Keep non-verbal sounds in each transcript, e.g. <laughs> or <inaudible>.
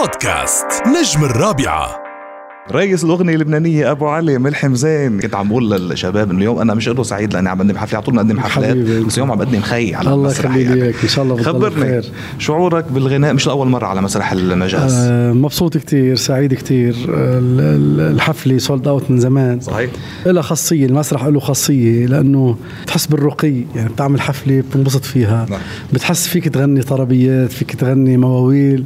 بودكاست نجم الرابعة رئيس الاغنيه اللبنانيه ابو علي ملحم زين كنت عم بقول للشباب انه اليوم انا مش قله سعيد لاني عم بقدم حفله على طول بقدم حفلات حبيبي. بس اليوم عم بقدم خي على الله المسرح يخلي لي يعني. اياك ان شاء الله بتضل خبرني بخير. شعورك بالغناء مش لاول مره على مسرح المجاز آه مبسوط كتير سعيد كتير آه، ال- ال- الحفلة سولد اوت من زمان صحيح لها خاصية المسرح له خاصية لأنه بتحس بالرقي يعني بتعمل حفلة بتنبسط فيها نعم. بتحس فيك تغني طربيات فيك تغني مواويل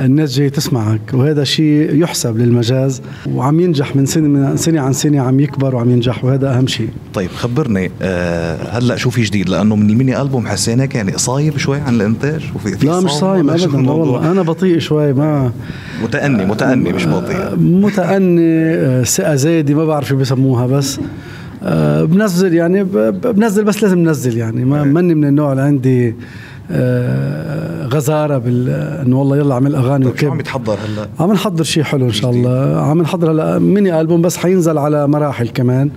الناس جاي تسمعك وهذا شيء يحسب للمجاز وعم ينجح من سنة من سنة عن سنة عم يكبر وعم ينجح وهذا أهم شيء طيب خبرني آه هلا شو في جديد لانه من الميني البوم حسين هيك يعني صايب شوي عن الانتاج وفي في لا مش صوب صايم ولا شو أبدا لا الموضوع؟ والله أنا بطيء شوي ما متأني متأني مش آه، بطيء متأني آه، ثقة زايدة ما بعرف شو بيسموها بس آه، بنزل يعني ب- ب- بنزل بس لازم نزل يعني ما مني من النوع اللي عندي آه، غزارة بال انه والله يلا اعمل اغاني طيب شو عم وكب يتحضر هلا عم نحضر شيء حلو ان شاء الله عم نحضر هلا ميني البوم بس حينزل على مراحل كمان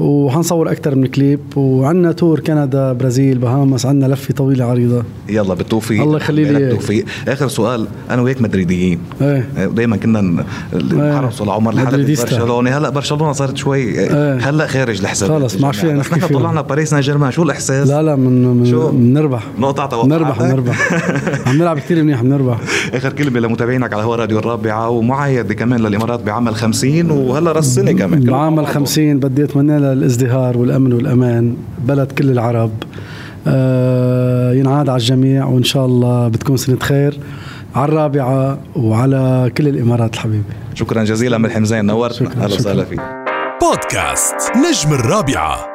وحنصور اكثر من كليب وعندنا تور كندا برازيل بهامس عندنا لفه طويله عريضه يلا بالتوفيق الله يخلي لي لك إياك. بالتوفيق اخر سؤال انا وياك مدريديين ايه دائما كنا ن- نحرص على عمر الحلبي آه. مدريديستا. برشلونه هلا برشلونه صارت شوي إيه. هلا خارج الحساب خلص، ما عاد فينا بس نحكي نحن فيها. طلعنا باريس سان جيرمان شو الاحساس؟ لا لا من شو؟ من بنربح نقطة توقعاتك؟ بنربح <laughs> بنربح عم نلعب كثير منيح بنربح اخر كلمه لمتابعينك على هو راديو الرابعه ومعايد كمان للامارات بعمل 50 وهلا راس سنه كمان كلهم بعام مع ال بعضهم. 50 بدي اتمنى لها الازدهار والامن والامان بلد كل العرب آه ينعاد على الجميع وان شاء الله بتكون سنه خير على الرابعه وعلى كل الامارات الحبيبه شكرا جزيلا ملحم زين نورتنا شكراً، اهلا وسهلا شكراً. فيك بودكاست نجم الرابعه